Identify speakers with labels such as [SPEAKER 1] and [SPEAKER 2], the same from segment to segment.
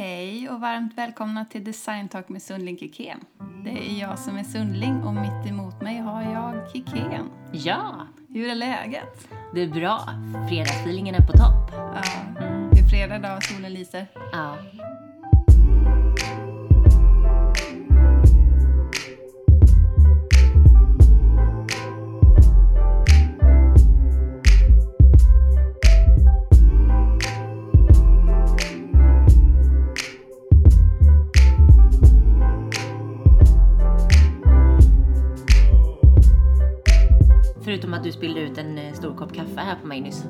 [SPEAKER 1] Hej och varmt välkomna till Design Talk med Sundling Kikén. Det är jag som är Sundling och mitt emot mig har jag Kikén.
[SPEAKER 2] Ja,
[SPEAKER 1] Hur är läget?
[SPEAKER 2] det är bra. Fredagsfeelingen är på topp.
[SPEAKER 1] Ja, det är fredag idag och solen lyser.
[SPEAKER 2] Ja. Förutom att du spillde ut en eh, stor kopp kaffe här på mig nyss.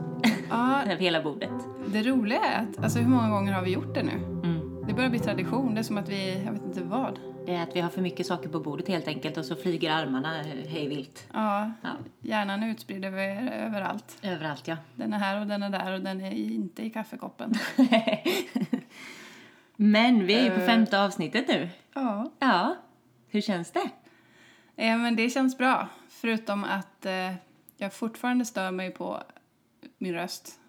[SPEAKER 1] Ja,
[SPEAKER 2] Över hela bordet.
[SPEAKER 1] det roliga är att, alltså hur många gånger har vi gjort det nu?
[SPEAKER 2] Mm.
[SPEAKER 1] Det börjar bli tradition, det är som att vi, jag vet inte vad.
[SPEAKER 2] Det är att vi har för mycket saker på bordet helt enkelt och så flyger armarna eh, hej vilt.
[SPEAKER 1] Ja,
[SPEAKER 2] Ja.
[SPEAKER 1] hjärnan är utspridd över, överallt.
[SPEAKER 2] Överallt ja.
[SPEAKER 1] Den är här och den är där och den är inte i kaffekoppen.
[SPEAKER 2] Men vi är ju på
[SPEAKER 1] Eh.
[SPEAKER 2] femte avsnittet nu.
[SPEAKER 1] Ja.
[SPEAKER 2] Ja. Hur känns det?
[SPEAKER 1] Eh, men det känns bra. Förutom att eh, jag fortfarande stör mig på min röst.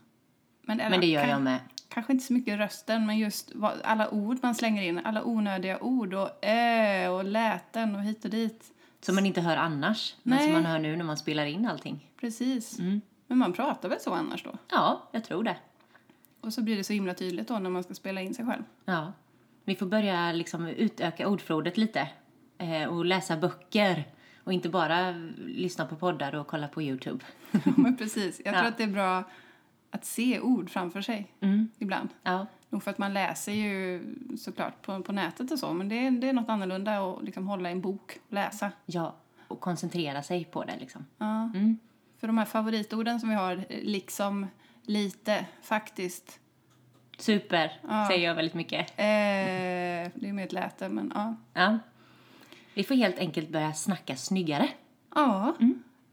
[SPEAKER 1] eller,
[SPEAKER 2] Men det gör
[SPEAKER 1] kan-
[SPEAKER 2] jag med.
[SPEAKER 1] Kanske inte så mycket rösten, men just vad, alla ord man slänger in. Alla onödiga ord och ö och läten och hit och dit.
[SPEAKER 2] Som man inte hör annars. Men
[SPEAKER 1] Nej.
[SPEAKER 2] som man hör nu när man spelar in allting.
[SPEAKER 1] Precis.
[SPEAKER 2] Mm.
[SPEAKER 1] Men man pratar väl så annars då?
[SPEAKER 2] Ja, jag tror det.
[SPEAKER 1] Och så blir det så himla tydligt då när man ska spela in sig själv.
[SPEAKER 2] Ja. Vi får börja liksom utöka ordförrådet lite. Eh, och läsa böcker. Och inte bara eh, lyssna på poddar och kolla på Youtube.
[SPEAKER 1] men precis. Jag tror
[SPEAKER 2] Ja.
[SPEAKER 1] att det är bra att se ord framför sig
[SPEAKER 2] Mm.
[SPEAKER 1] ibland.
[SPEAKER 2] Ja.
[SPEAKER 1] Nog för att man läser ju såklart på, på nätet och så, men det, är- det är något annorlunda att liksom hålla i en bok och läsa.
[SPEAKER 2] ja. Och koncentrera sig på det liksom.
[SPEAKER 1] Ja.
[SPEAKER 2] Mm.
[SPEAKER 1] För de här favoritorden som vi har, eh, liksom, lite, faktiskt.
[SPEAKER 2] Super,
[SPEAKER 1] Ja.
[SPEAKER 2] säger jag väldigt mycket.
[SPEAKER 1] Eh, det är mer ett läte, men ja.
[SPEAKER 2] Ja. Vi får helt enkelt börja snacka snyggare.
[SPEAKER 1] Ja,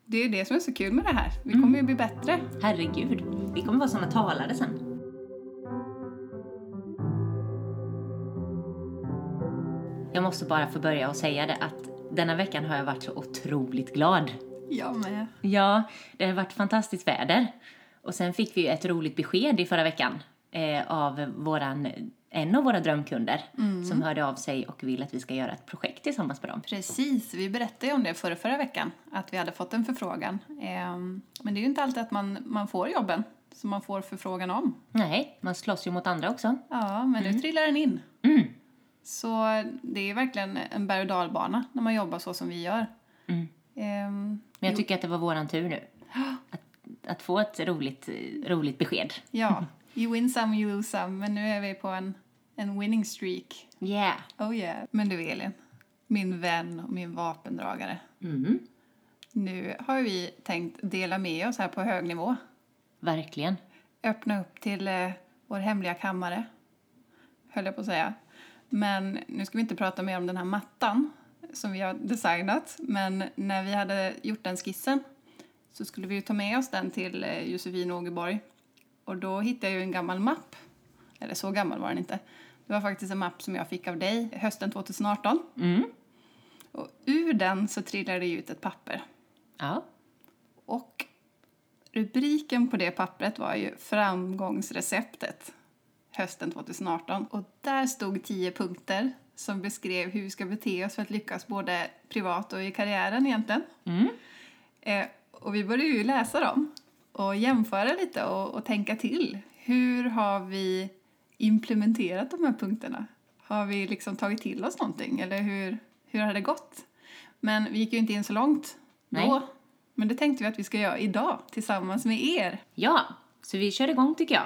[SPEAKER 1] det är ju det som är så kul med det här. Vi kommer ju bli bättre.
[SPEAKER 2] Herregud, vi kommer vara såna talare sen. Jag måste bara få börja och säga det att denna veckan har jag varit så otroligt glad.
[SPEAKER 1] Jag med.
[SPEAKER 2] Ja, det har varit fantastiskt väder. Och sen fick vi ju ett roligt besked i förra veckan eh, av våran, en av våra drömkunder som hörde av sig och vill att vi ska göra ett projekt tillsammans med dem.
[SPEAKER 1] Precis, vi berättade ju om det förra, förra veckan, att vi hade fått en förfrågan. Ehm, men det är ju inte alltid att man, man får jobben som man får förfrågan om.
[SPEAKER 2] Nej, man slåss ju mot andra också.
[SPEAKER 1] Ja, men nu trillar den in.
[SPEAKER 2] Mm.
[SPEAKER 1] Så det är verkligen en berg och dalbana när man jobbar så som vi gör.
[SPEAKER 2] Mm.
[SPEAKER 1] Ehm,
[SPEAKER 2] Men jag tycker att det var våran tur nu. Att, att få ett roligt, roligt besked.
[SPEAKER 1] ja, you win some, you lose some, men nu är vi på en, en winning streak.
[SPEAKER 2] Yeah.
[SPEAKER 1] Oh yeah. Men du Elin, min vän och min vapendragare.
[SPEAKER 2] Mm.
[SPEAKER 1] Nu har vi tänkt dela med oss här på hög nivå.
[SPEAKER 2] Verkligen.
[SPEAKER 1] Öppna upp till eh, vår hemliga kammare, höll jag på att säga. Men nu ska vi inte prata mer om den här mattan som vi har designat. Men när vi hade gjort den skissen så skulle vi ju ta med oss den till eh, Josefin Ågeborg. Och då hittade jag ju en gammal mapp. Eller så gammal var den inte. Det var faktiskt en mapp som jag fick av dig hösten 2018.
[SPEAKER 2] Mm.
[SPEAKER 1] Och ur den så trillade det ut ett papper.
[SPEAKER 2] Ja.
[SPEAKER 1] Och rubriken på det pappret var ju Framgångsreceptet hösten 2018. Och där stod tio punkter som beskrev hur vi ska bete oss för att lyckas både privat och i karriären egentligen.
[SPEAKER 2] Mm.
[SPEAKER 1] Eh, och vi började ju läsa dem och jämföra lite och, och tänka till. Hur har vi implementerat de här punkterna? Har vi liksom tagit till oss någonting eller hur, hur har det gått? Men vi gick ju inte in så långt då.
[SPEAKER 2] Nej.
[SPEAKER 1] Men det tänkte vi att vi ska göra idag tillsammans med er.
[SPEAKER 2] Ja, så vi kör igång tycker jag.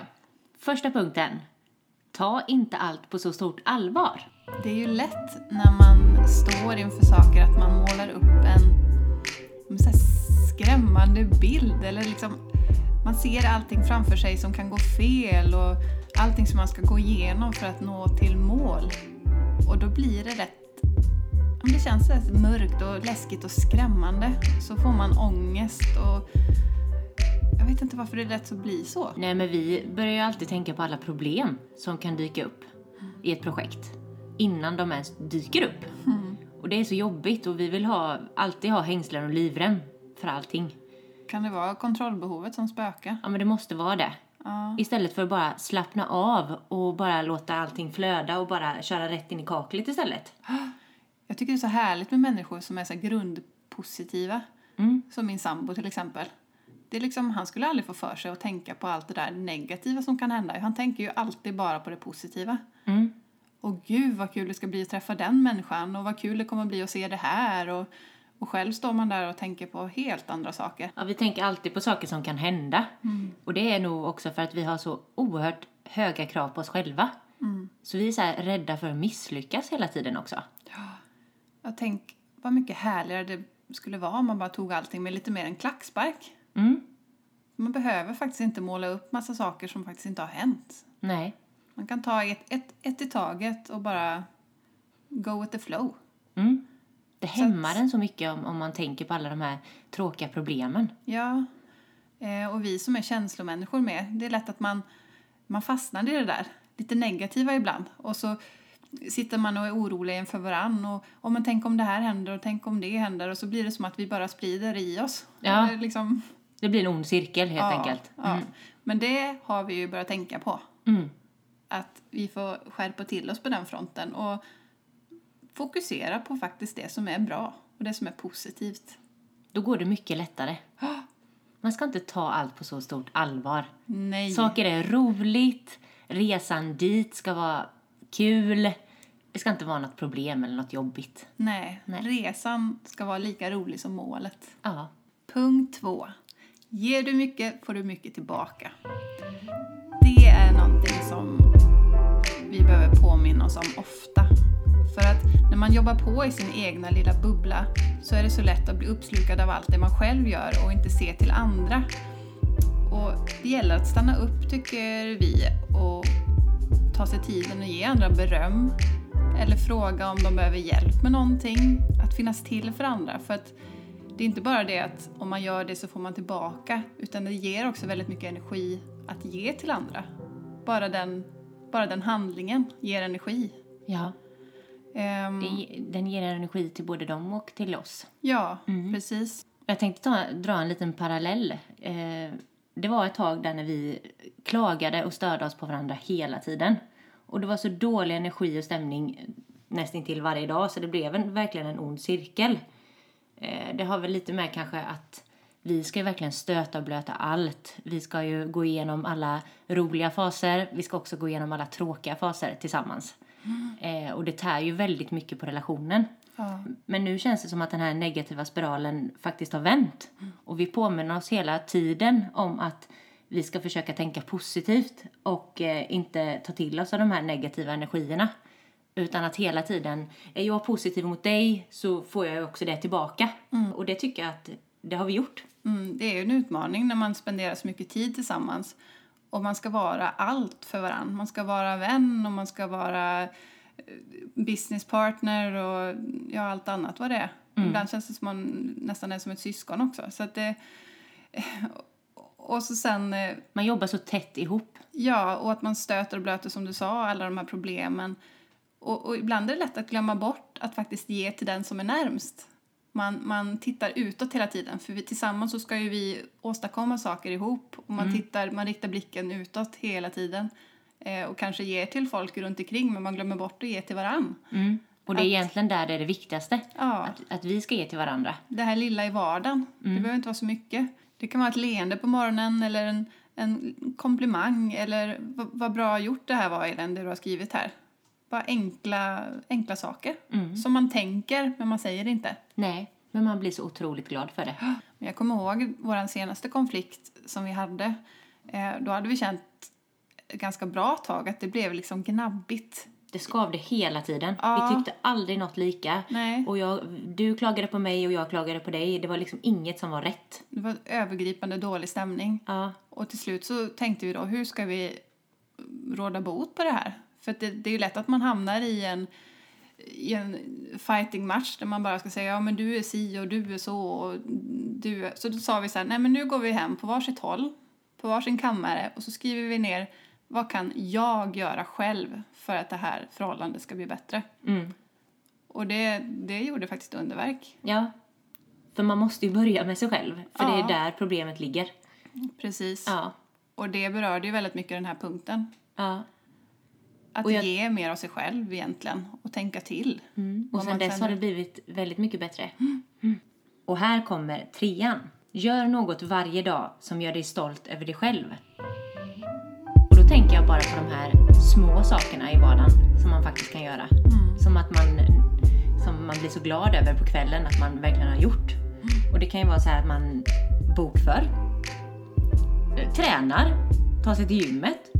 [SPEAKER 2] Första punkten. Ta inte allt på så stort allvar.
[SPEAKER 1] Det är ju lätt när man står inför saker att man målar upp en en så här skrämmande bild. Eller liksom, man ser allting framför sig som kan gå fel och allting som man ska gå igenom för att nå till mål. Och då blir det rätt... ja, men Det känns rätt mörkt och läskigt och skrämmande. Så får man ångest och... Jag vet inte varför det är lätt att bli så.
[SPEAKER 2] Nej, men vi börjar ju alltid tänka på alla problem som kan dyka upp i ett projekt innan de ens dyker upp. Och det är så jobbigt och vi vill ha, alltid ha hängslen och livrem för allting.
[SPEAKER 1] Kan det vara kontrollbehovet som spökar?
[SPEAKER 2] Ja, men det måste vara det.
[SPEAKER 1] Ja.
[SPEAKER 2] Istället för att bara slappna av och bara låta allting flöda och bara köra rätt in i kaklet istället.
[SPEAKER 1] Jag tycker det är så härligt med människor som är så här grundpositiva.
[SPEAKER 2] Mm.
[SPEAKER 1] Som min sambo till exempel. Det är liksom, han skulle aldrig få för sig att tänka på allt det där negativa som kan hända. Han tänker ju alltid bara på det positiva.
[SPEAKER 2] Mm.
[SPEAKER 1] Och gud vad kul det ska bli att träffa den människan och vad kul det kommer bli att se det här. Och, och själv står man där och tänker på helt andra saker.
[SPEAKER 2] Ja, vi tänker alltid på saker som kan hända. Och det är nog också för att vi har så oerhört höga krav på oss själva. Så vi är så här rädda för att misslyckas hela tiden också.
[SPEAKER 1] Jag tänk vad mycket härligare det skulle vara om man bara tog allting med lite mer en klackspark.
[SPEAKER 2] Mm.
[SPEAKER 1] Man behöver faktiskt inte måla upp massa saker som faktiskt inte har hänt.
[SPEAKER 2] Nej.
[SPEAKER 1] Man kan ta ett, ett, ett i taget och bara go with the flow.
[SPEAKER 2] Mm. Det hämmar en så mycket om, om man tänker på alla de här tråkiga problemen.
[SPEAKER 1] Ja, eh, och vi som är känslomänniskor med, det är lätt att man, man fastnar i det där, lite negativa ibland. Och så sitter man och är orolig inför varann och om man tänker om det här händer och tänk om det händer och så blir det som att vi bara sprider i oss.
[SPEAKER 2] Ja.
[SPEAKER 1] Eller liksom,
[SPEAKER 2] Det blir en ond cirkel helt enkelt.
[SPEAKER 1] Ja. Men det har vi ju börjat tänka på,
[SPEAKER 2] Mm.
[SPEAKER 1] att vi får skärpa till oss på den fronten och fokusera på faktiskt det som är bra och det som är positivt.
[SPEAKER 2] Då går det mycket lättare. Man ska inte ta allt på så stort allvar.
[SPEAKER 1] Nej.
[SPEAKER 2] Saker är roligt, resan dit ska vara kul. Det ska inte vara något problem eller något jobbigt.
[SPEAKER 1] Nej,
[SPEAKER 2] Nej.
[SPEAKER 1] resan ska vara lika rolig som målet.
[SPEAKER 2] Ja.
[SPEAKER 1] Punkt två. Ger du mycket får du mycket tillbaka. Det är någonting som vi behöver påminna oss om ofta. För att när man jobbar på i sin egna lilla bubbla så är det så lätt att bli uppslukad av allt det man själv gör och inte se till andra. Och det gäller att stanna upp tycker vi och ta sig tiden och ge andra beröm eller fråga om de behöver hjälp med någonting. Att finnas till för andra. För att det är inte bara det att om man gör det så får man tillbaka utan det ger också väldigt mycket energi att ge till andra. Bara den, bara den handlingen ger energi.
[SPEAKER 2] ja.
[SPEAKER 1] Ehm,
[SPEAKER 2] Det, den ger energi till både dem och till oss.
[SPEAKER 1] Ja, precis.
[SPEAKER 2] Jag tänkte ta, dra en liten parallell. Eh, det var ett tag där när vi klagade och störde oss på varandra hela tiden. Och det var så dålig energi och stämning nästan till varje dag så det blev en, verkligen en ond cirkel. Eh, det har väl lite med kanske att vi ska ju verkligen stöta och blöta allt. Vi ska ju gå igenom alla roliga faser. Vi ska också gå igenom alla tråkiga faser tillsammans. Eh, och det tär ju väldigt mycket på relationen.
[SPEAKER 1] Ja.
[SPEAKER 2] Men nu känns det som att den här negativa spiralen faktiskt har vänt. Och vi påminner oss hela tiden om att vi ska försöka tänka positivt och eh, inte ta till oss av de här negativa energierna. Utan att hela tiden, är jag positiv mot dig så får jag ju också det tillbaka. Och det tycker jag att det har vi gjort.
[SPEAKER 1] Mm, det är ju en utmaning när man spenderar så mycket tid tillsammans och man ska vara allt för varandra. Man ska vara vän och man ska vara eh, businesspartner och ja, allt annat vad det är. Ibland känns det som man nästan är som ett syskon också. Så att det, och så sen eh,
[SPEAKER 2] Man jobbar så tätt ihop.
[SPEAKER 1] Ja, och att man stöter och blöter som du sa, alla de här problemen. Och, och ibland är det lätt att glömma bort att faktiskt ge till den som är närmst. Man, man tittar utåt hela tiden, för vi, tillsammans så ska ju vi åstadkomma saker ihop. Och man, tittar, man riktar blicken utåt hela tiden. Eh, och kanske ger till folk runt omkring, men man glömmer bort att ge till varann.
[SPEAKER 2] Och det är egentligen där det är det viktigaste.
[SPEAKER 1] Ja.
[SPEAKER 2] Att, att vi ska ge till varandra.
[SPEAKER 1] det här lilla i vardagen. Det behöver inte vara så mycket. Det kan vara ett leende på morgonen eller en, en komplimang eller vad, vad bra gjort det här var Elin, det du har skrivit här. Bara enkla, enkla saker som man tänker men man säger inte.
[SPEAKER 2] Nej, men man blir så otroligt glad för det.
[SPEAKER 1] Men jag kommer ihåg vår senaste konflikt som vi hade. Eh, då hade vi känt ett ganska bra tag att det blev liksom gnabbigt.
[SPEAKER 2] Det skavde hela tiden.
[SPEAKER 1] Ja.
[SPEAKER 2] Vi tyckte aldrig något lika.
[SPEAKER 1] Nej.
[SPEAKER 2] Och jag, du klagade på mig och jag klagade på dig. Det var liksom inget som var rätt.
[SPEAKER 1] Det var övergripande dålig stämning.
[SPEAKER 2] Ja,
[SPEAKER 1] Och till slut så tänkte vi då, hur ska vi råda bot på det här? För att det, det är ju lätt att man hamnar i en, i en fighting match där man bara ska säga, ja men du är si och du är så och du är... Så då sa vi så här, nej men nu går vi hem på varsitt håll, på varsin kammare och så skriver vi ner, vad kan jag göra själv för att det här förhållandet ska bli bättre?
[SPEAKER 2] Mm.
[SPEAKER 1] Och det, det gjorde faktiskt underverk.
[SPEAKER 2] ja. För man måste ju börja med sig själv. För det är
[SPEAKER 1] Ja.
[SPEAKER 2] där problemet ligger.
[SPEAKER 1] Precis.
[SPEAKER 2] Ja.
[SPEAKER 1] Och det berörde ju väldigt mycket den här punkten.
[SPEAKER 2] Ja.
[SPEAKER 1] Att
[SPEAKER 2] Och jag-
[SPEAKER 1] ge mer av sig själv egentligen och tänka till.
[SPEAKER 2] Mm. Och
[SPEAKER 1] Vad
[SPEAKER 2] sen
[SPEAKER 1] man
[SPEAKER 2] dess har det blivit väldigt mycket bättre. Mm. Och här kommer trean. Gör något varje dag som gör dig stolt över dig själv. Och då tänker jag bara på de här små sakerna i vardagen som man faktiskt kan göra. Som att man, som man blir så glad över på kvällen att man verkligen har gjort. Och det kan ju vara så här att man bokför, eh, tränar, tar sig till gymmet.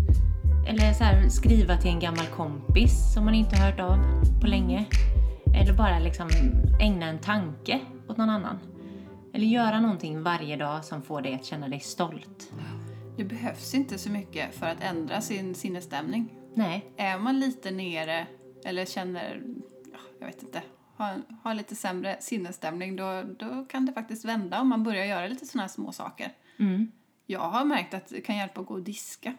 [SPEAKER 2] Eller så här, skriva till en gammal kompis som man inte har hört av på länge. Eller bara liksom ägna en tanke åt någon annan. Eller göra någonting varje dag som får dig att känna dig stolt.
[SPEAKER 1] Det behövs inte så mycket för att ändra sin sinnesstämning.
[SPEAKER 2] Nej,
[SPEAKER 1] Är man lite nere eller känner, ja, jag vet inte, har, har lite sämre sinnesstämning då, då kan det faktiskt vända om man börjar göra lite sådana här små saker.
[SPEAKER 2] Mm.
[SPEAKER 1] Jag har märkt att det kan hjälpa att gå och diska.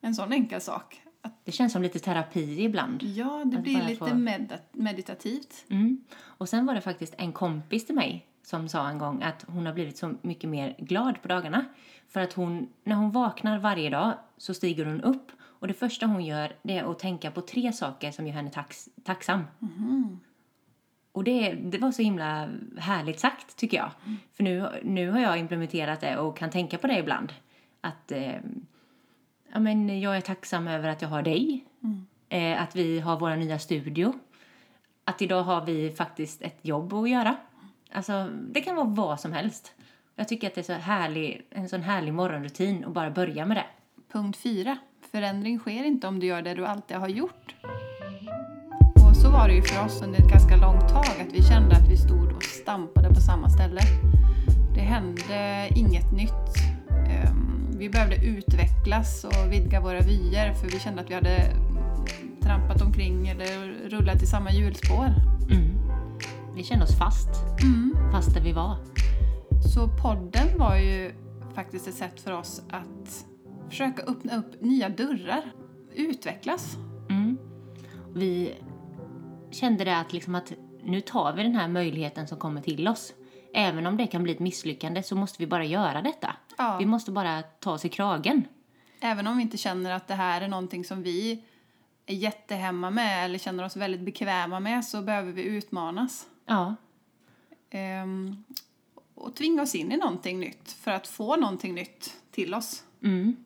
[SPEAKER 1] En sån enkel sak. Att,
[SPEAKER 2] det känns som lite terapi ibland.
[SPEAKER 1] ja, det
[SPEAKER 2] Att
[SPEAKER 1] blir
[SPEAKER 2] bara
[SPEAKER 1] lite
[SPEAKER 2] få-
[SPEAKER 1] meda- meditativt.
[SPEAKER 2] Mm. Och sen var det faktiskt en kompis till mig som sa en gång att hon har blivit så mycket mer glad på dagarna. För att hon, när hon vaknar varje dag så stiger hon upp och det första hon gör det är att tänka på tre saker som gör henne tax, tacksam. Och det, det var så himla härligt sagt tycker jag. För nu, nu har jag implementerat det och kan tänka på det ibland. Att eh, ja, men jag är tacksam över att jag har dig. Eh, att vi har vår nya studio att idag har vi faktiskt ett jobb att göra. Alltså, det kan vara vad som helst. Jag tycker att det är så härlig, en sån härlig morgonrutin att bara börja med det.
[SPEAKER 1] Punkt 4. Förändring sker inte om du gör det du alltid har gjort. Och så var det ju för oss under ett ganska långt tag att vi kände att vi stod och stampade på samma ställe. Det hände inget nytt. Ehm, Vi behövde utvecklas och vidga våra vyer för vi kände att vi hade trampat omkring eller rullat i samma hjulspår.
[SPEAKER 2] Mm. Vi kände oss fast,
[SPEAKER 1] Mm.
[SPEAKER 2] fast där vi var.
[SPEAKER 1] Så podden var ju faktiskt ett sätt för oss att försöka öppna upp nya dörrar, utvecklas.
[SPEAKER 2] Mm. Vi kände det att, liksom att nu tar vi den här möjligheten som kommer till oss. Även om det kan bli ett misslyckande så måste vi bara göra detta.
[SPEAKER 1] Ja.
[SPEAKER 2] Vi måste bara ta oss i kragen.
[SPEAKER 1] Även om vi inte känner att det här är någonting som vi är jättehemma med eller känner oss väldigt bekväma med så behöver vi utmanas.
[SPEAKER 2] Ja,
[SPEAKER 1] Ehm, och tvinga oss in i någonting nytt för att få någonting nytt till oss.
[SPEAKER 2] Mm.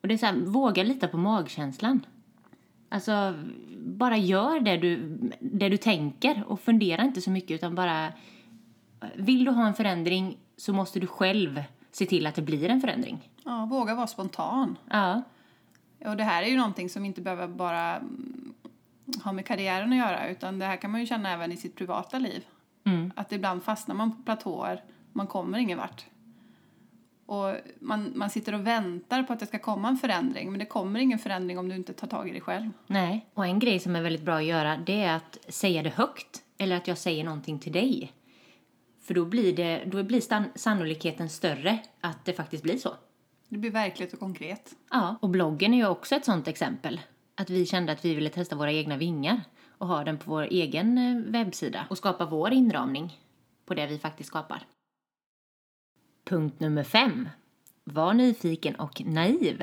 [SPEAKER 2] Och det är så här, våga lita på magkänslan. Alltså, bara gör det du, det du tänker och fundera inte så mycket utan bara... Vill du ha en förändring så måste du själv se till att det blir en förändring.
[SPEAKER 1] Ja, våga vara spontan.
[SPEAKER 2] Ja.
[SPEAKER 1] Och det här är ju någonting som inte behöver bara mm, ha med karriären att göra utan det här kan man ju känna även i sitt privata liv.
[SPEAKER 2] Mm.
[SPEAKER 1] Att ibland fastnar man på platåer, man kommer ingen vart. Och man, man sitter och väntar på att det ska komma en förändring men det kommer ingen förändring om du inte tar tag i dig själv.
[SPEAKER 2] Nej. Och en grej som är väldigt bra att göra det är att säga det högt. Eller att jag säger någonting till dig. För då blir, det, då blir stan- sannolikheten större att det faktiskt blir så.
[SPEAKER 1] Det blir verkligt och konkret.
[SPEAKER 2] Ja, och bloggen är ju också ett sånt exempel. Att vi kände att vi ville testa våra egna vingar och ha den på vår egen eh, webbsida och skapa vår inramning på det vi faktiskt skapar. Punkt nummer fem. Var nyfiken och naiv.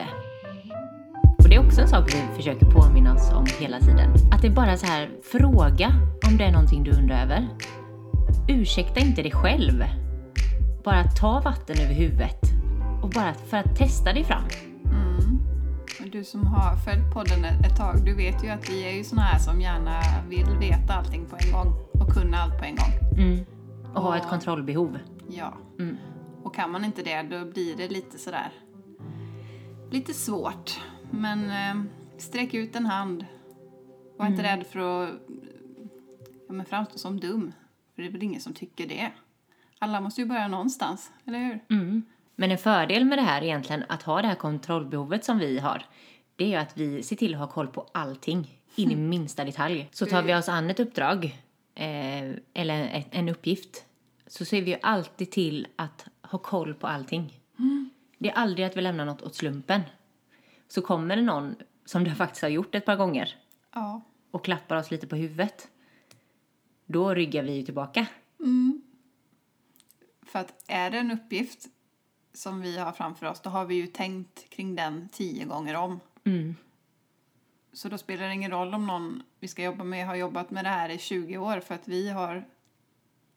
[SPEAKER 2] Och det är också en sak vi försöker påminna oss om hela tiden. Att det är bara så här, fråga om det är någonting du undrar över. Ursäkta inte dig själv. Bara ta vatten över huvudet. Och bara för att testa dig fram.
[SPEAKER 1] Och Du som har följt podden ett ett tag, du vet ju att vi är ju såna här som gärna vill veta allting på en gång och kunna allt på en gång.
[SPEAKER 2] Mm. Och ha ett
[SPEAKER 1] Ja.
[SPEAKER 2] kontrollbehov.
[SPEAKER 1] Ja.
[SPEAKER 2] Mm.
[SPEAKER 1] Och kan man inte det, då blir det lite sådär... Lite svårt. Men eh, sträck ut en hand. Var inte
[SPEAKER 2] Mm.
[SPEAKER 1] rädd för att ja, men framstå som dum. För det är väl ingen som tycker det. Alla måste ju börja någonstans, eller hur?
[SPEAKER 2] Mm. Men en fördel med det här egentligen, att ha det här kontrollbehovet som vi har, det är ju att vi ser till att ha koll på allting, in i minsta detalj. Så tar vi oss an ett uppdrag, eh, eller ett, en uppgift, så ser vi ju alltid till att ha koll på allting. Det är aldrig att vi lämnar något åt slumpen. Så kommer det någon, som det faktiskt har gjort ett par gånger,
[SPEAKER 1] Ja.
[SPEAKER 2] och klappar oss lite på huvudet, då ryggar vi ju tillbaka.
[SPEAKER 1] För att är det en uppgift som vi har framför oss, då har vi ju tänkt kring den tio gånger om.
[SPEAKER 2] Mm.
[SPEAKER 1] Så då spelar det ingen roll om någon vi ska jobba med har jobbat med det här i 20 år för att vi har,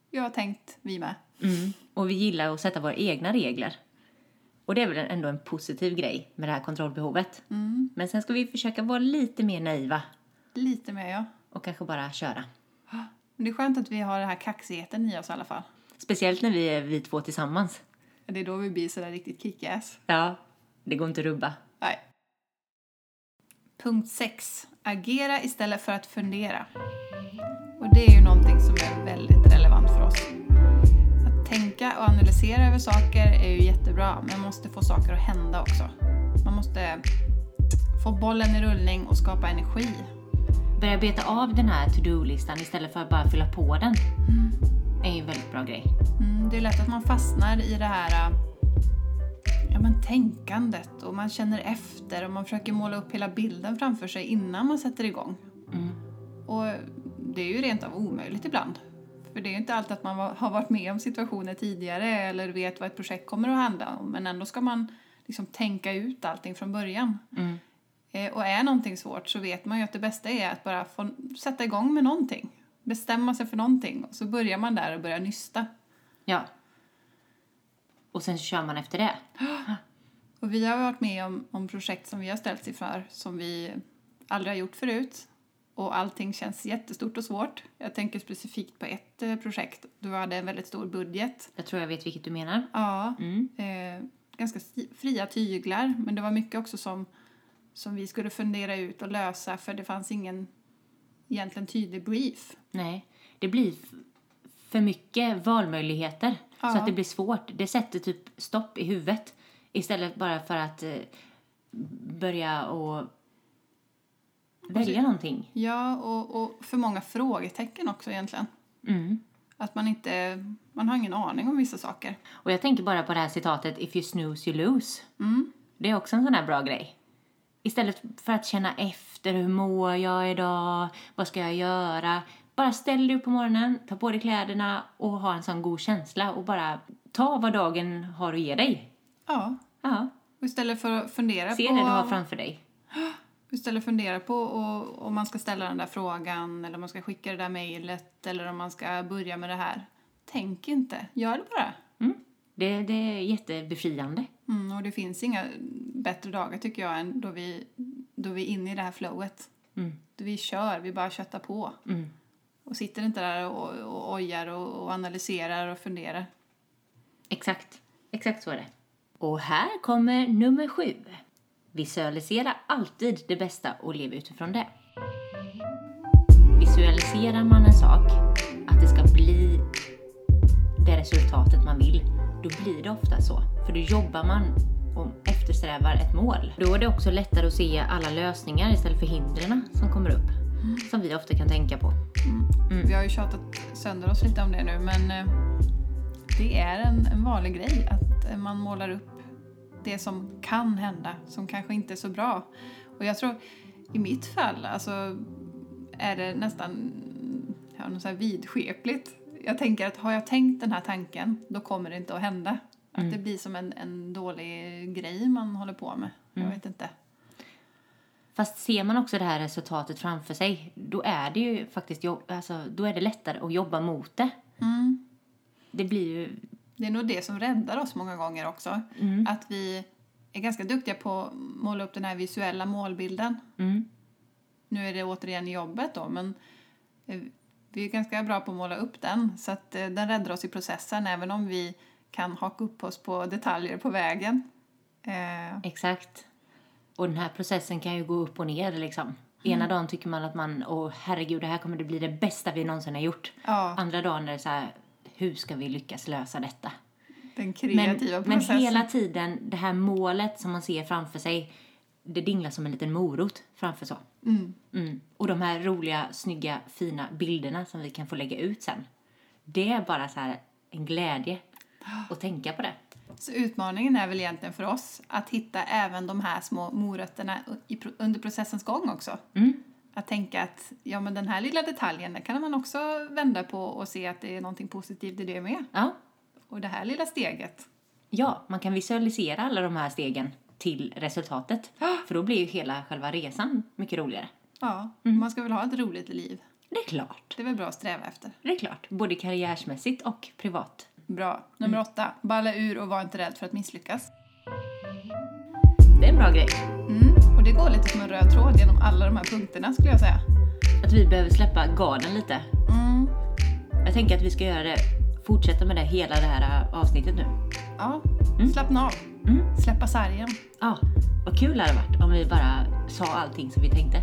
[SPEAKER 1] jag har tänkt, vi med.
[SPEAKER 2] Mm. Och vi gillar att sätta våra egna regler. Och det är väl ändå en positiv grej med det här kontrollbehovet. Men sen ska vi försöka vara lite mer naiva
[SPEAKER 1] Lite mer ja.
[SPEAKER 2] och kanske bara köra.
[SPEAKER 1] Men det är skönt att vi har den här kaxigheten i oss i alla fall.
[SPEAKER 2] Speciellt när vi är vi två tillsammans.
[SPEAKER 1] Det är då vi blir sådär riktigt kickass.
[SPEAKER 2] Ja, det går inte att rubba.
[SPEAKER 1] Nej. Punkt 6. Agera istället för att fundera. Och det är ju någonting som är väldigt relevant för oss. Att tänka och analysera över saker är ju jättebra, men man måste få saker att hända också. Man måste få bollen i rullning och skapa energi.
[SPEAKER 2] Börja beta av den här to-do-listan istället för att bara fylla på den. Mm. Det är ju en väldigt bra grej.
[SPEAKER 1] Mm, det är lätt att man fastnar i det här äh, ja, men tänkandet och man känner efter och man försöker måla upp hela bilden framför sig innan man sätter igång.
[SPEAKER 2] Mm.
[SPEAKER 1] Och det är ju rent av omöjligt ibland. För det är ju inte alltid att man va- har varit med om situationer tidigare eller vet vad ett projekt kommer att handla om. Men ändå ska man liksom tänka ut allting från början.
[SPEAKER 2] Mm.
[SPEAKER 1] Eh, och är någonting svårt så vet man ju att det bästa är att bara få sätta igång med någonting. Bestämma sig för någonting. Och så börjar man där och börjar nysta.
[SPEAKER 2] Ja. Och sen så kör man efter det.
[SPEAKER 1] Och vi har varit med om, om projekt som vi har ställts inför som vi aldrig har gjort förut. Och allting känns jättestort och svårt. Jag tänker specifikt på ett eh, projekt. Du hade en väldigt stor budget.
[SPEAKER 2] Jag tror jag vet vilket du menar.
[SPEAKER 1] Ja,
[SPEAKER 2] Mm.
[SPEAKER 1] eh, ganska si- fria tyglar. Men det var mycket också som, som vi skulle fundera ut och lösa för det fanns ingen egentligen tydlig brief.
[SPEAKER 2] Nej, det blir f- för mycket valmöjligheter
[SPEAKER 1] Ja.
[SPEAKER 2] så att det blir svårt. Det sätter typ stopp i huvudet istället bara för att eh, börja och välja någonting.
[SPEAKER 1] Ja, och, och för många frågetecken också egentligen.
[SPEAKER 2] Mm.
[SPEAKER 1] Att man inte, man har ingen aning om vissa saker.
[SPEAKER 2] Och jag tänker bara på det här citatet If you snooze you lose. Det är också en sån här bra grej. Istället för att känna efter hur mår jag idag, vad ska jag göra? Bara ställ dig upp på morgonen, ta på dig kläderna och ha en sån god känsla och bara ta vad dagen har att ge dig.
[SPEAKER 1] Ja,
[SPEAKER 2] Ja,
[SPEAKER 1] och istället för att fundera
[SPEAKER 2] se
[SPEAKER 1] på...
[SPEAKER 2] det du har framför dig.
[SPEAKER 1] istället fundera på och, om man ska ställa den där frågan eller om man ska skicka det där mejlet eller om man ska börja med det här. Tänk inte, gör det bara.
[SPEAKER 2] Mm. Det, det är jättebefriande.
[SPEAKER 1] Mm, och det finns inga bättre dagar tycker jag än då vi, då vi är inne i det här flowet.
[SPEAKER 2] Mm.
[SPEAKER 1] Då vi kör, vi bara köttar på.
[SPEAKER 2] Mm.
[SPEAKER 1] Och sitter inte där och, och ojar och, och analyserar och funderar.
[SPEAKER 2] Exakt. Exakt så är det. Och här kommer nummer sju. Visualisera alltid det bästa och lev utifrån det. Visualiserar man en sak, att det ska bli det resultatet man vill, då blir det ofta så. För då jobbar man och eftersträvar ett mål. Då är det också lättare att se alla lösningar istället för hindren som kommer upp. Som vi ofta kan tänka på.
[SPEAKER 1] Vi har ju tjatat sönder oss lite om det nu men eh, det är en, en vanlig grej att eh, man målar upp det som kan hända, som kanske inte är så bra. Och jag tror i mitt fall alltså, är det nästan ja, något så här vidskepligt. Jag tänker att har jag tänkt den här tanken då kommer det inte att hända. Att det blir som en, en dålig grej man håller på med. Jag vet inte.
[SPEAKER 2] Fast ser man också det här resultatet framför sig, då är det ju faktiskt jobb, alltså, då är det lättare att jobba mot det.
[SPEAKER 1] Mm.
[SPEAKER 2] Det blir ju...
[SPEAKER 1] Det är nog det som räddar oss många gånger också.
[SPEAKER 2] Mm.
[SPEAKER 1] Att vi är ganska duktiga på att måla upp den här visuella målbilden.
[SPEAKER 2] Mm,
[SPEAKER 1] Nu är det återigen jobbet då, men eh, vi är ganska bra på att måla upp den. Så att eh, den räddar oss i processen, även om vi kan haka upp oss på detaljer på vägen. Eh,
[SPEAKER 2] exakt. Och den här processen kan ju gå upp och ner liksom. Ena dagen tycker man att man, åh herregud, det här kommer det bli det bästa vi någonsin har gjort.
[SPEAKER 1] ja,
[SPEAKER 2] Andra dagen är det så här, hur ska vi lyckas lösa detta?
[SPEAKER 1] den
[SPEAKER 2] Men,
[SPEAKER 1] kreativa
[SPEAKER 2] men
[SPEAKER 1] processen.
[SPEAKER 2] hela tiden, det här målet som man ser framför sig, det dinglar som en liten morot framför så.
[SPEAKER 1] Mm.
[SPEAKER 2] Mm. Och de här roliga, snygga, fina bilderna som vi kan få lägga ut sen. Det är bara så här en glädje att tänka på det.
[SPEAKER 1] Så utmaningen är väl egentligen för oss att hitta även de här små morötterna i, pro- under processens gång också.
[SPEAKER 2] Mm.
[SPEAKER 1] Att tänka att ja, men den här lilla detaljen den kan man också vända på och se att det är någonting positivt i det med.
[SPEAKER 2] Ja,
[SPEAKER 1] Och det här lilla steget,
[SPEAKER 2] Ja, man kan visualisera alla de här stegen till resultatet. För då blir ju hela själva resan mycket roligare.
[SPEAKER 1] Ja, man ska väl ha ett roligt liv.
[SPEAKER 2] Det är klart.
[SPEAKER 1] Det är väl bra att sträva efter.
[SPEAKER 2] Det är klart. Både karriärsmässigt och privat.
[SPEAKER 1] Bra. Nummer åtta. Balla ur och var inte rädd för att misslyckas.
[SPEAKER 2] Det är en bra grej.
[SPEAKER 1] Mm. Och det går lite som en röd tråd genom alla de här punkterna skulle jag säga.
[SPEAKER 2] Att vi behöver släppa garden lite.
[SPEAKER 1] Mm.
[SPEAKER 2] Jag tänker att vi ska göra det, fortsätta med det hela det här äh, avsnittet nu.
[SPEAKER 1] Ja,
[SPEAKER 2] Mm.
[SPEAKER 1] slappna av.
[SPEAKER 2] Mm.
[SPEAKER 1] Släppa sargen.
[SPEAKER 2] Ja, vad kul det hade varit om vi bara sa allting som vi tänkte.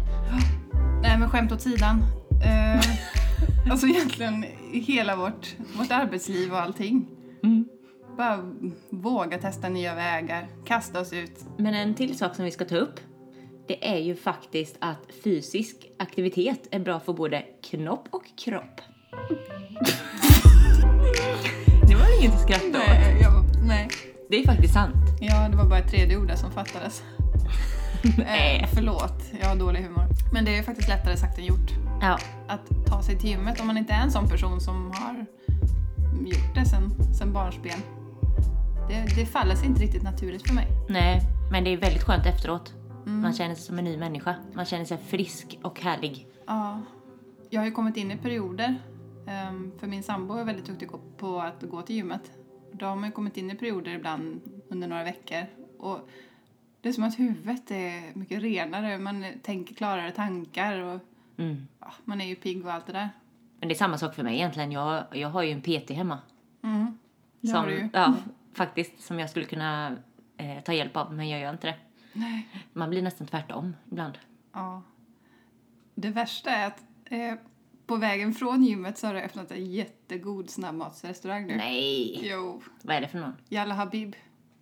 [SPEAKER 1] Nej men skämt åt sidan. Eh, alltså egentligen hela vårt, vårt arbetsliv och allting.
[SPEAKER 2] Mm.
[SPEAKER 1] Bara våga testa nya vägar, kasta oss ut.
[SPEAKER 2] Men en till sak som vi ska ta upp. Det är ju faktiskt att fysisk aktivitet är bra för både knopp och kropp. det var inget att skratta åt.
[SPEAKER 1] jag, nej.
[SPEAKER 2] Det är faktiskt sant.
[SPEAKER 1] Ja, det var bara ett tredje ord där som fattades.
[SPEAKER 2] Nej.
[SPEAKER 1] Eh, förlåt, jag har dålig humor. Men det är faktiskt lättare sagt än gjort.
[SPEAKER 2] Ja,
[SPEAKER 1] Att ta sig till gymmet om man inte är en sån person som har gjort det sen, sen barnsben. Det, det faller sig inte riktigt naturligt för mig.
[SPEAKER 2] nej, men det är väldigt skönt efteråt. Man känner sig som en ny människa. Man känner sig frisk och härlig.
[SPEAKER 1] Ja, jag har ju kommit in i perioder. ehm, För min sambo är väldigt duktig på att gå till gymmet. Då har man ju kommit in i perioder ibland under några veckor. Och det är som att huvudet är mycket renare. Man tänker klarare tankar och
[SPEAKER 2] Mm.
[SPEAKER 1] ja, man är ju pigg och allt det där.
[SPEAKER 2] Men det är samma sak för mig egentligen. Jag, jag har ju en PT hemma.
[SPEAKER 1] Mm. Det har
[SPEAKER 2] Som,
[SPEAKER 1] du ju. Mm.
[SPEAKER 2] ja, faktiskt, som jag skulle kunna eh, ta hjälp av, men jag gör inte det.
[SPEAKER 1] Nej.
[SPEAKER 2] Man blir nästan tvärtom ibland.
[SPEAKER 1] Ja. Det värsta är att eh, på vägen från gymmet så har det öppnat en jättegod snabbmatsrestaurang nu.
[SPEAKER 2] Nej!
[SPEAKER 1] Jo,
[SPEAKER 2] Vad är det för någon?
[SPEAKER 1] Jalla Habib.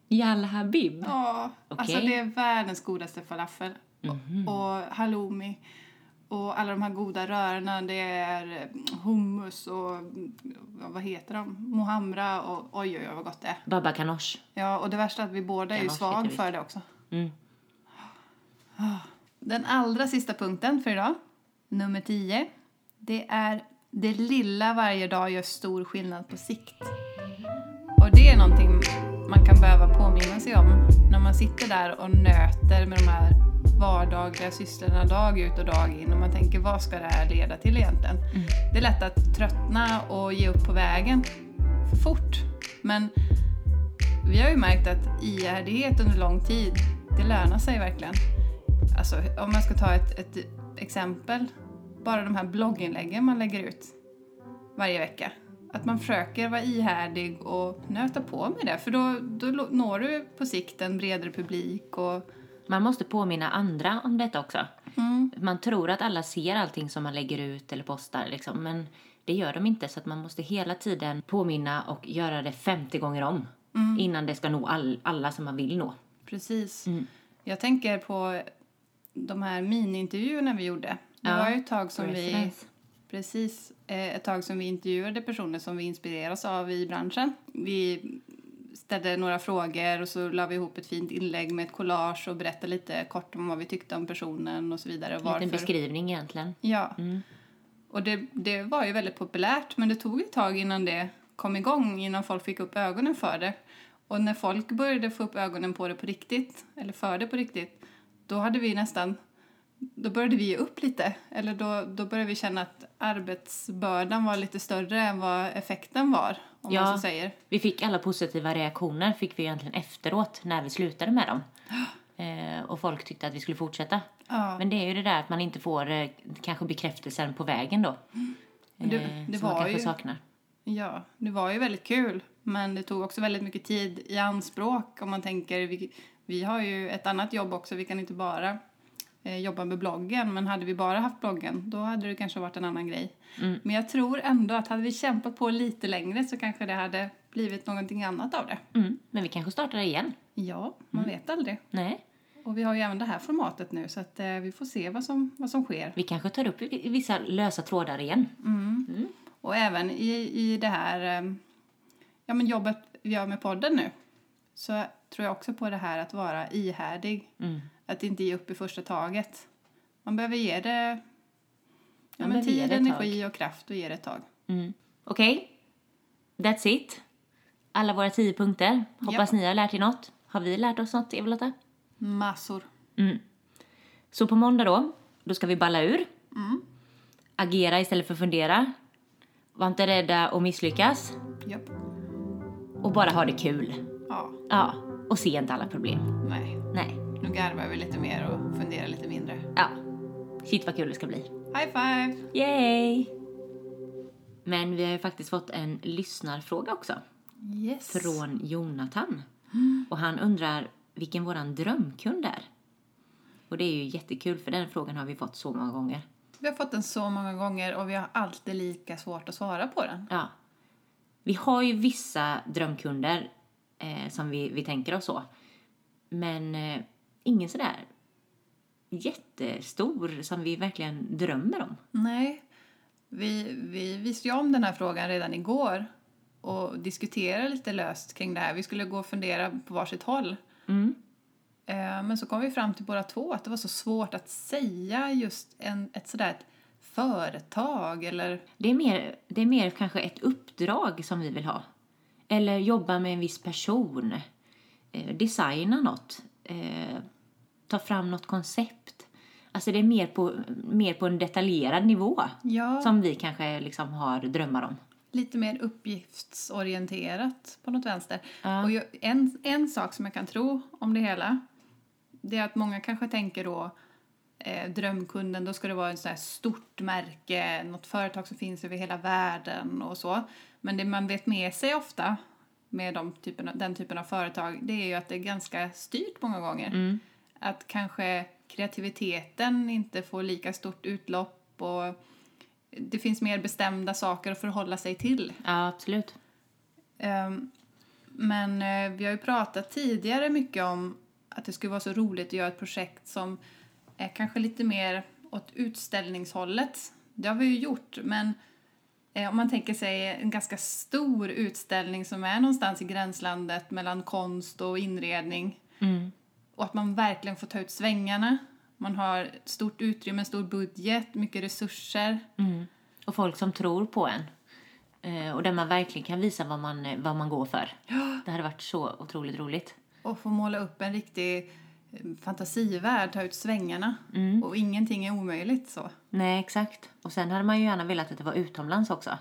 [SPEAKER 2] Jalla Habib.
[SPEAKER 1] Ja, alltså
[SPEAKER 2] Okej.
[SPEAKER 1] det är världens godaste falafel. Och halloumi. Och alla de här goda rörorna. Det är eh, hummus och mm, vad heter de? Mohamra och oj, oj, oj vad gott det är.
[SPEAKER 2] Baba Ganoush.
[SPEAKER 1] Ja, och det värsta är att vi båda är ju
[SPEAKER 2] Gammalt
[SPEAKER 1] svag
[SPEAKER 2] skitvitt.
[SPEAKER 1] för det också.
[SPEAKER 2] Mm.
[SPEAKER 1] Ah. Den allra sista punkten för idag, nummer 10, det är det lilla varje dag gör stor skillnad på sikt. Och det är någonting man kan behöva påminna sig om när man sitter där och nöter med de här vardagliga sysslorna dag ut och dag in och man tänker vad ska det här leda till egentligen? Det är lätt att tröttna och ge upp på vägen för fort. Men vi har ju märkt att ihärdighet under lång tid, det lönar sig verkligen. Alltså om man ska ta ett, ett exempel, bara de här blogginläggen man lägger ut varje vecka. Att man försöker vara ihärdig och nöta på med det, för då, då lo- når du på sikt en bredare publik och...
[SPEAKER 2] Man måste påminna andra om detta också.
[SPEAKER 1] Mm.
[SPEAKER 2] Man tror att alla ser allting som man lägger ut eller postar, liksom, men det gör de inte. Så att man måste hela tiden påminna och göra det 50 gånger om
[SPEAKER 1] Mm.
[SPEAKER 2] innan det ska nå all, alla som man vill nå.
[SPEAKER 1] Precis.
[SPEAKER 2] Mm.
[SPEAKER 1] Jag tänker på de här miniintervjuerna vi gjorde. Det
[SPEAKER 2] Ja,
[SPEAKER 1] var ju ett tag som vi...
[SPEAKER 2] Reference.
[SPEAKER 1] Precis. Eh, Ett tag som vi intervjuade personer som vi inspireras av i branschen. Vi ställde några frågor och så la vi ihop ett fint inlägg med ett collage och berättade lite kort om vad vi tyckte om personen och så vidare. och
[SPEAKER 2] En liten
[SPEAKER 1] varför.
[SPEAKER 2] beskrivning egentligen.
[SPEAKER 1] Ja. Och det, det var ju väldigt populärt men det tog ett tag innan det kom igång, innan folk fick upp ögonen för det. Och när folk började få upp ögonen på det på riktigt, eller för det på riktigt, då hade vi nästan, då började vi ge upp lite. Eller då, då började vi känna att arbetsbördan var lite större än vad effekten var, om man
[SPEAKER 2] Ja.
[SPEAKER 1] så säger.
[SPEAKER 2] Vi fick alla positiva reaktioner fick vi egentligen efteråt när vi slutade med dem. Eh, och folk tyckte att vi skulle fortsätta.
[SPEAKER 1] Ja.
[SPEAKER 2] Men det är ju det där att man inte får eh, kanske bekräftelsen på vägen då.
[SPEAKER 1] Mm. Men det-
[SPEAKER 2] Eh,
[SPEAKER 1] det
[SPEAKER 2] som man
[SPEAKER 1] var
[SPEAKER 2] kanske
[SPEAKER 1] ju-
[SPEAKER 2] saknar.
[SPEAKER 1] Ja, det var ju väldigt kul, men det tog också väldigt mycket tid i anspråk om man tänker, vi, vi har ju ett annat jobb också, vi kan inte bara eh, jobba med bloggen, men hade vi bara haft bloggen då hade det kanske varit en annan grej. Men jag tror ändå att hade vi kämpat på lite längre så kanske det hade blivit någonting annat av det.
[SPEAKER 2] Mm. Men vi kanske startar igen.
[SPEAKER 1] Ja, man vet aldrig.
[SPEAKER 2] Nej,
[SPEAKER 1] Och vi har ju även det här formatet nu så att eh, vi får se vad som, vad som sker.
[SPEAKER 2] vi kanske tar upp i- vissa lösa trådar igen.
[SPEAKER 1] Och även i, i det här eh, ja, men jobbet vi gör med podden nu så tror jag också på det här att vara ihärdig. Att inte ge upp i första taget. Man behöver ge det ja,
[SPEAKER 2] Man
[SPEAKER 1] men
[SPEAKER 2] behöver
[SPEAKER 1] tid,
[SPEAKER 2] ge det ett tag.
[SPEAKER 1] energi och kraft och ge det ett tag.
[SPEAKER 2] Okej, that's Mm. it. alla våra tio punkter. Hoppas ni har lärt er något. Har vi lärt oss något, Eva-Lotta?
[SPEAKER 1] Massor.
[SPEAKER 2] Mm. Så på måndag då, då ska vi balla ur. Agera istället för fundera. Var inte rädda att misslyckas.
[SPEAKER 1] Japp.
[SPEAKER 2] Och bara ha det kul.
[SPEAKER 1] Ja,
[SPEAKER 2] Ja, och se inte alla problem.
[SPEAKER 1] nej.
[SPEAKER 2] Nej.
[SPEAKER 1] Nu garvar vi lite mer och funderar lite mindre.
[SPEAKER 2] Ja. Shit vad kul det ska bli.
[SPEAKER 1] High five!
[SPEAKER 2] Yay! Men vi har ju faktiskt fått en lyssnarfråga också.
[SPEAKER 1] Yes.
[SPEAKER 2] Från Jonathan. Och han undrar vilken våran drömkund är. Och det är ju jättekul för den frågan har vi fått så många gånger.
[SPEAKER 1] Vi har fått den så många gånger och vi har alltid lika svårt att svara på den.
[SPEAKER 2] Ja. Vi har ju vissa drömkunder eh, som vi, vi tänker oss så. Men eh, ingen sådär jättestor som vi verkligen drömmer om.
[SPEAKER 1] Nej, vi, vi visste ju om den här frågan redan igår och diskuterade lite löst kring det här. Vi skulle gå och fundera på varsitt håll.
[SPEAKER 2] Mm.
[SPEAKER 1] Eh, Men så kom vi fram till båda två att det var så svårt att säga just en, ett sådär ett företag eller
[SPEAKER 2] Det är, mer, det är mer kanske ett uppdrag som vi vill ha. Eller jobba med en viss person. Eh, designa något. Eh, ta fram något koncept. Alltså det är mer på, mer på en detaljerad nivå
[SPEAKER 1] ja,
[SPEAKER 2] som vi kanske liksom har drömmar om.
[SPEAKER 1] lite mer uppgiftsorienterat på något vänster. Och ju- en, en sak som jag kan tro om det hela det är att många kanske tänker då eh, drömkunden, då ska det vara ett sånt här stort märke, något företag som finns över hela världen och så. Men det man vet med sig ofta med de typen, av- den typen av företag, det är ju att det är ganska styrt många gånger. Att kanske kreativiteten inte får lika stort utlopp och det finns mer bestämda saker att förhålla sig till.
[SPEAKER 2] Ja, absolut.
[SPEAKER 1] Ehm, Men eh, vi har ju pratat tidigare mycket om att det skulle vara så roligt att göra ett projekt som är kanske lite mer åt utställningshållet. Det har vi ju gjort, men eh, om man tänker sig en ganska stor utställning som är någonstans i gränslandet mellan konst och inredning och att man verkligen får ta ut svängarna. Man har stort utrymme, stor budget, mycket resurser.
[SPEAKER 2] Och folk som tror på en. Eh, och där man verkligen kan visa vad man, eh, vad man går för. Det hade varit så otroligt roligt.
[SPEAKER 1] Och få måla upp en riktig eh, fantasivärld, ta ut svängarna. Och ingenting är omöjligt så.
[SPEAKER 2] Nej, exakt. Och sen hade man ju gärna velat att det var utomlands också.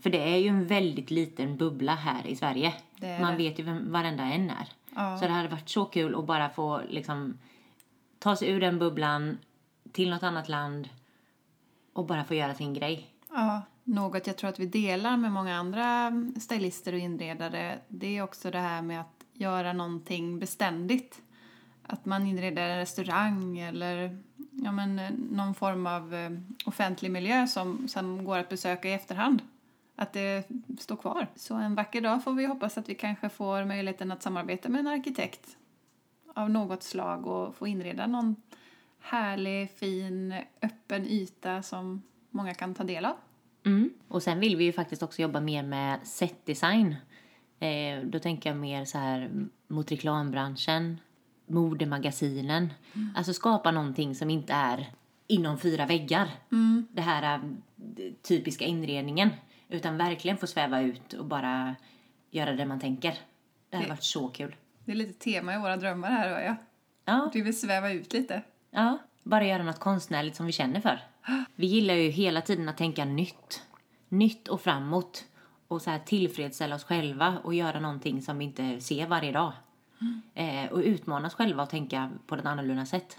[SPEAKER 2] För det är ju en väldigt liten bubbla här i Sverige.
[SPEAKER 1] Det är
[SPEAKER 2] man
[SPEAKER 1] det.
[SPEAKER 2] vet ju vem varenda en är.
[SPEAKER 1] Ja.
[SPEAKER 2] Så det hade varit så kul att bara få liksom, ta sig ur den bubblan till något annat land och bara få göra sin grej.
[SPEAKER 1] Ja. Något jag tror att vi delar med många andra mm, stylister och inredare det är också det här med att göra någonting beständigt. Att man inreder en restaurang eller ja, men, eh, någon form av eh, offentlig miljö som, som går att besöka i efterhand. Att det står kvar. Så en vacker dag får vi hoppas att vi kanske får möjligheten att samarbeta med en arkitekt av något slag och få inreda någon härlig, fin, öppen yta som många kan ta del av.
[SPEAKER 2] Mm. Och sen vill vi ju faktiskt också jobba mer med setdesign. Eh, då tänker jag mer så här mot reklambranschen, modemagasinen. Alltså skapa någonting som inte är inom fyra väggar. Det här eh, typiska inredningen. Utan verkligen få sväva ut och bara göra det man tänker. Det hade
[SPEAKER 1] Det-
[SPEAKER 2] varit så kul.
[SPEAKER 1] Det är lite tema i våra drömmar här, hör jag.
[SPEAKER 2] Ja,
[SPEAKER 1] Du vill sväva ut lite.
[SPEAKER 2] ja, bara göra något konstnärligt som vi känner för. Vi gillar ju hela tiden att tänka nytt. Nytt och framåt. Och så här tillfredsställa oss själva och göra någonting som vi inte ser varje dag. Eh, och utmana oss själva och tänka på ett annorlunda sätt.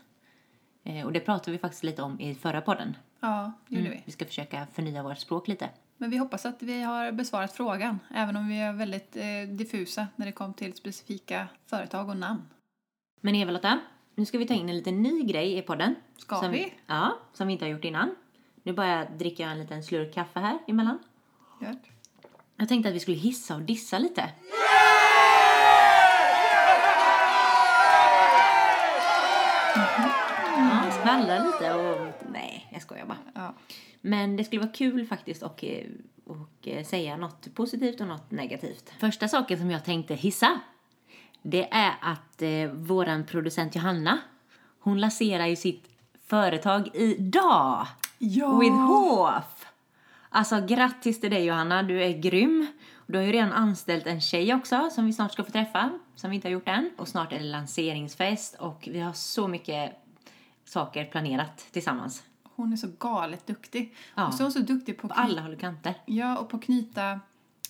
[SPEAKER 2] Eh, och det pratade vi faktiskt lite om i förra podden.
[SPEAKER 1] Ja, det gjorde vi.
[SPEAKER 2] Vi ska försöka förnya vårt språk lite.
[SPEAKER 1] Men vi hoppas att vi har besvarat frågan, även om vi är väldigt eh, diffusa när det kom till specifika företag och namn.
[SPEAKER 2] Men Eva-Lotta, nu ska vi ta in en liten ny grej i podden.
[SPEAKER 1] Ska
[SPEAKER 2] som,
[SPEAKER 1] vi?
[SPEAKER 2] Ja, som vi inte har gjort innan. Nu bara dricker jag en liten slurk kaffe här emellan.
[SPEAKER 1] Gött.
[SPEAKER 2] Jag tänkte att vi skulle hissa och dissa lite. Ja, skvallra lite och... Nej, jag skojar bara.
[SPEAKER 1] Ja.
[SPEAKER 2] Men det skulle vara kul faktiskt att och, eh, och säga något positivt och något negativt. Första saken som jag tänkte hissa, det är att eh, våran producent Johanna, hon lanserar ju sitt företag idag!
[SPEAKER 1] Ja!
[SPEAKER 2] With Hof! Alltså grattis till dig Johanna, du är grym. Du har ju redan anställt en tjej också som vi snart ska få träffa, som vi inte har gjort än. Och snart är det lanseringsfest och vi har så mycket saker planerat tillsammans.
[SPEAKER 1] Hon är så galet duktig.
[SPEAKER 2] Ja.
[SPEAKER 1] Och så är hon så duktig på
[SPEAKER 2] På
[SPEAKER 1] att
[SPEAKER 2] alla håll och kanter.
[SPEAKER 1] Ja, och på att knyta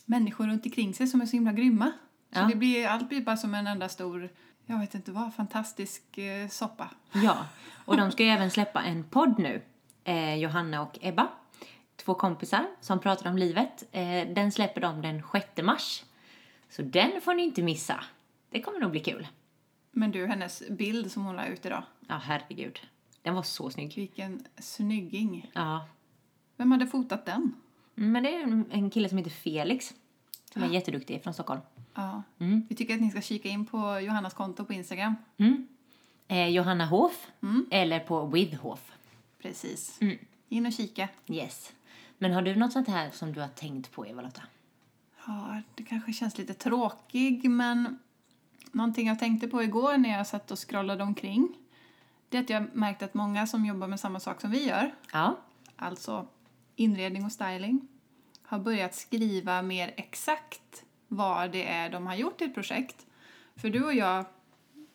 [SPEAKER 1] människor runt omkring sig som är så himla grymma. Så
[SPEAKER 2] Ja.
[SPEAKER 1] det blir, allt blir bara som en enda stor, jag vet inte vad, fantastisk eh, soppa.
[SPEAKER 2] Ja, och de ska ju även släppa en podd nu. Eh, Johanna och Ebba, två kompisar som pratar om livet. Eh, den släpper de den 6 mars. Så den får ni inte missa. Det kommer nog bli kul.
[SPEAKER 1] Men du, hennes bild som hon la ut idag,
[SPEAKER 2] Ja, herregud. Den var så snygg.
[SPEAKER 1] vilken snygging.
[SPEAKER 2] Ja.
[SPEAKER 1] Vem hade fotat den?
[SPEAKER 2] Mm, Men det är en- en kille som heter Felix, som är jätteduktig från Stockholm.
[SPEAKER 1] Ja.
[SPEAKER 2] Mm.
[SPEAKER 1] Vi tycker att ni ska kika in på Johannas konto på Instagram.
[SPEAKER 2] Mm. Eh, Johanna Hof, eller på With Hof.
[SPEAKER 1] Precis.
[SPEAKER 2] Mm.
[SPEAKER 1] In och kika.
[SPEAKER 2] Yes. Men har du något sånt här som du har tänkt på, Eva-Lotta?
[SPEAKER 1] Ja, det kanske känns lite tråkig, men någonting jag tänkte på igår när jag satt och scrollade omkring, det är att jag märkt att många som jobbar med samma sak som vi gör,
[SPEAKER 2] Ja.
[SPEAKER 1] alltså inredning och styling, har börjat skriva mer exakt vad det är de har gjort i ett projekt. För du och jag,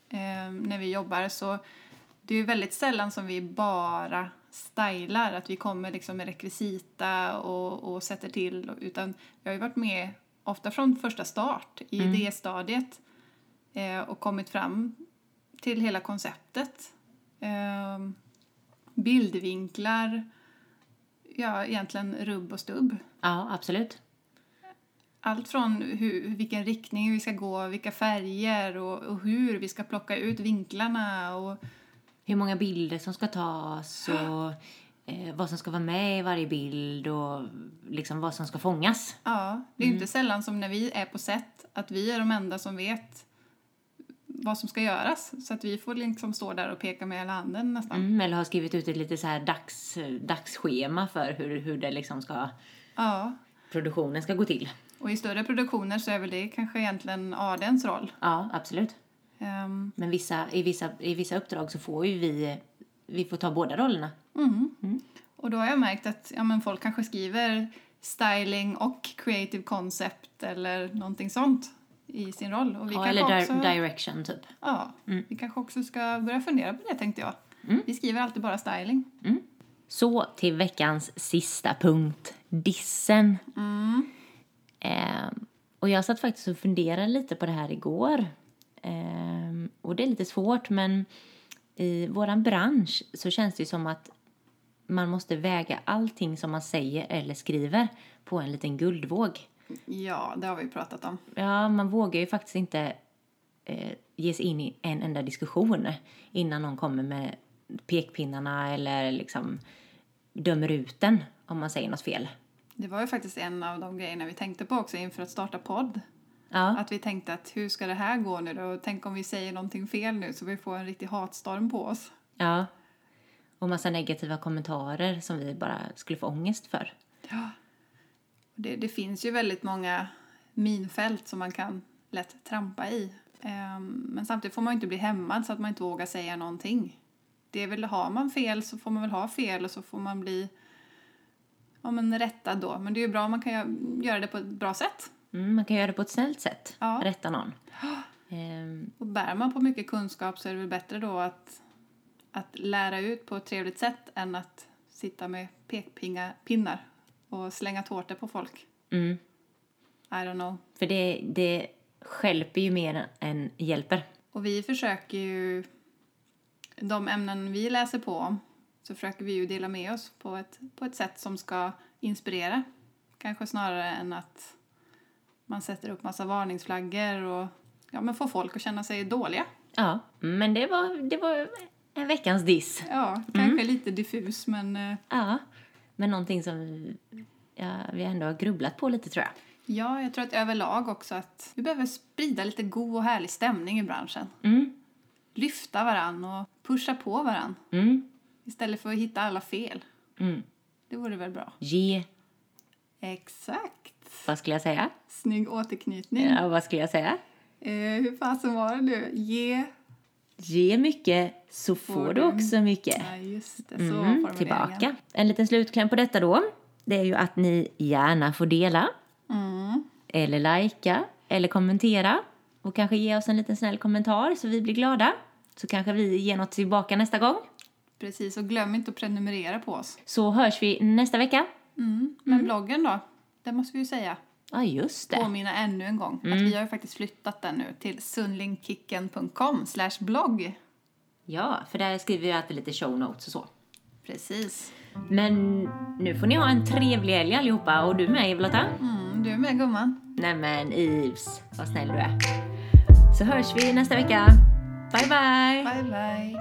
[SPEAKER 1] eh, när vi jobbar, så det är ju väldigt sällan som vi bara stylar, att vi kommer liksom med rekvisita och, och sätter till, utan jag har ju varit med ofta från första start i det stadiet eh, och kommit fram till hela konceptet. Ehm, bildvinklar, ja, egentligen rubb och stubb.
[SPEAKER 2] Ja, absolut.
[SPEAKER 1] Allt från hur, vilken riktning vi ska gå, vilka färger och, och hur vi ska plocka ut vinklarna. Och,
[SPEAKER 2] hur många bilder som ska tas och eh, vad som ska vara med i varje bild och liksom vad som ska fångas.
[SPEAKER 1] ja, det är ju inte sällan som när vi är på set att vi är de enda som vet vad som ska göras. Så att vi får liksom stå där och peka med hela handen nästan.
[SPEAKER 2] Mm, eller har skrivit ut ett lite så här dags, dagsschema för hur, hur det liksom ska,
[SPEAKER 1] Ja.
[SPEAKER 2] produktionen ska gå till.
[SPEAKER 1] Och i större produktioner så är väl det kanske egentligen ADns roll.
[SPEAKER 2] Ja, absolut.
[SPEAKER 1] Ehm,
[SPEAKER 2] Men vissa, i, vissa, i vissa uppdrag så får ju vi, vi får ta båda rollerna.
[SPEAKER 1] Och då har jag märkt att ja, men folk kanske skriver styling och creative concept eller någonting sånt i sin roll. Och vi,
[SPEAKER 2] Ja, eller
[SPEAKER 1] kanske,
[SPEAKER 2] di-
[SPEAKER 1] också,
[SPEAKER 2] direction typ.
[SPEAKER 1] ja, vi kanske också ska börja fundera på det tänkte jag.
[SPEAKER 2] Mm.
[SPEAKER 1] Vi skriver alltid bara styling.
[SPEAKER 2] Så till veckans sista punkt, dissen.
[SPEAKER 1] Mm.
[SPEAKER 2] Ehm, och jag satt faktiskt och funderade lite på det här igår. Ehm, och det är lite svårt, men i våran bransch så känns det ju som att man måste väga allting som man säger eller skriver på en liten guldvåg.
[SPEAKER 1] Ja, det har vi pratat om.
[SPEAKER 2] Ja, man vågar ju faktiskt inte eh, ge sig in i en enda diskussion innan någon kommer med pekpinnarna eller liksom dömer ut den om man säger något fel.
[SPEAKER 1] Det var ju faktiskt en av de grejerna vi tänkte på också inför att starta podd.
[SPEAKER 2] Ja,
[SPEAKER 1] Att vi tänkte att hur ska det här gå nu då? Och tänk om vi säger någonting fel nu så vi får en riktig hatstorm på oss.
[SPEAKER 2] ja. Och massa negativa kommentarer som vi bara skulle få ångest för.
[SPEAKER 1] Ja. Det, det finns ju väldigt många minfält som man kan lätt trampa i. Ehm, Men samtidigt får man ju inte bli hämmad så att man inte vågar säga någonting. Det är väl, har man fel så får man väl ha fel och så får man bli ja, men rättad då. Men det är ju bra om man kan gö- göra det på ett bra sätt.
[SPEAKER 2] Mm, man kan göra det på ett snällt sätt,
[SPEAKER 1] Ja.
[SPEAKER 2] rätta någon. Ehm,
[SPEAKER 1] Och bär man på mycket kunskap så är det väl bättre då att, att lära ut på ett trevligt sätt än att sitta med pekpinnar och slänga tårtor på folk.
[SPEAKER 2] mm.
[SPEAKER 1] I don't know.
[SPEAKER 2] För det, det skälper ju mer än hjälper.
[SPEAKER 1] Och vi försöker ju, de ämnen vi läser på om, så försöker vi ju dela med oss på ett, på ett sätt som ska inspirera. Kanske snarare än att man sätter upp massa varningsflaggor och ja, men får folk att känna sig dåliga.
[SPEAKER 2] Ja, men det var, det var en veckans diss.
[SPEAKER 1] Ja, kanske lite diffus men eh,
[SPEAKER 2] Ja, men någonting som ja, vi ändå har grubblat på lite tror jag.
[SPEAKER 1] ja, jag tror att överlag också att vi behöver sprida lite god och härlig stämning i branschen.
[SPEAKER 2] Mm.
[SPEAKER 1] Lyfta varann och pusha på varann
[SPEAKER 2] Mm.
[SPEAKER 1] istället för att hitta alla fel.
[SPEAKER 2] Mm.
[SPEAKER 1] Det vore väl bra.
[SPEAKER 2] Ge,
[SPEAKER 1] Exakt.
[SPEAKER 2] vad skulle jag säga?
[SPEAKER 1] Snygg återknytning.
[SPEAKER 2] Ja, vad skulle jag säga?
[SPEAKER 1] Eh, hur fasen var det nu? Ge...
[SPEAKER 2] Ge mycket så får du också mycket.
[SPEAKER 1] Ja, just det. Så var
[SPEAKER 2] Mm,
[SPEAKER 1] formuleringen.
[SPEAKER 2] tillbaka.
[SPEAKER 1] Mm,
[SPEAKER 2] En liten slutkläm på detta då. Det är ju att ni gärna får dela. eller likea eller kommentera och kanske ge oss en liten snäll kommentar så vi blir glada. Så kanske vi ger något tillbaka nästa gång.
[SPEAKER 1] Precis, och glöm inte att prenumerera på oss.
[SPEAKER 2] Så hörs vi nästa vecka.
[SPEAKER 1] Mm. Men bloggen då? Det måste vi ju säga.
[SPEAKER 2] Ja, Mm. just det.
[SPEAKER 1] Påminna ännu en gång att vi har ju faktiskt flyttat den nu till sunlingkicken.com slash blogg.
[SPEAKER 2] Ja, för där skriver vi alltid lite show notes och så.
[SPEAKER 1] Precis.
[SPEAKER 2] Men nu får ni ha en trevlig helg allihopa och du med Eva-Lotta.
[SPEAKER 1] Mm, du är med gumman.
[SPEAKER 2] Nämen Yves, vad snäll du är. Så hörs vi nästa vecka. Bye bye!
[SPEAKER 1] Bye bye.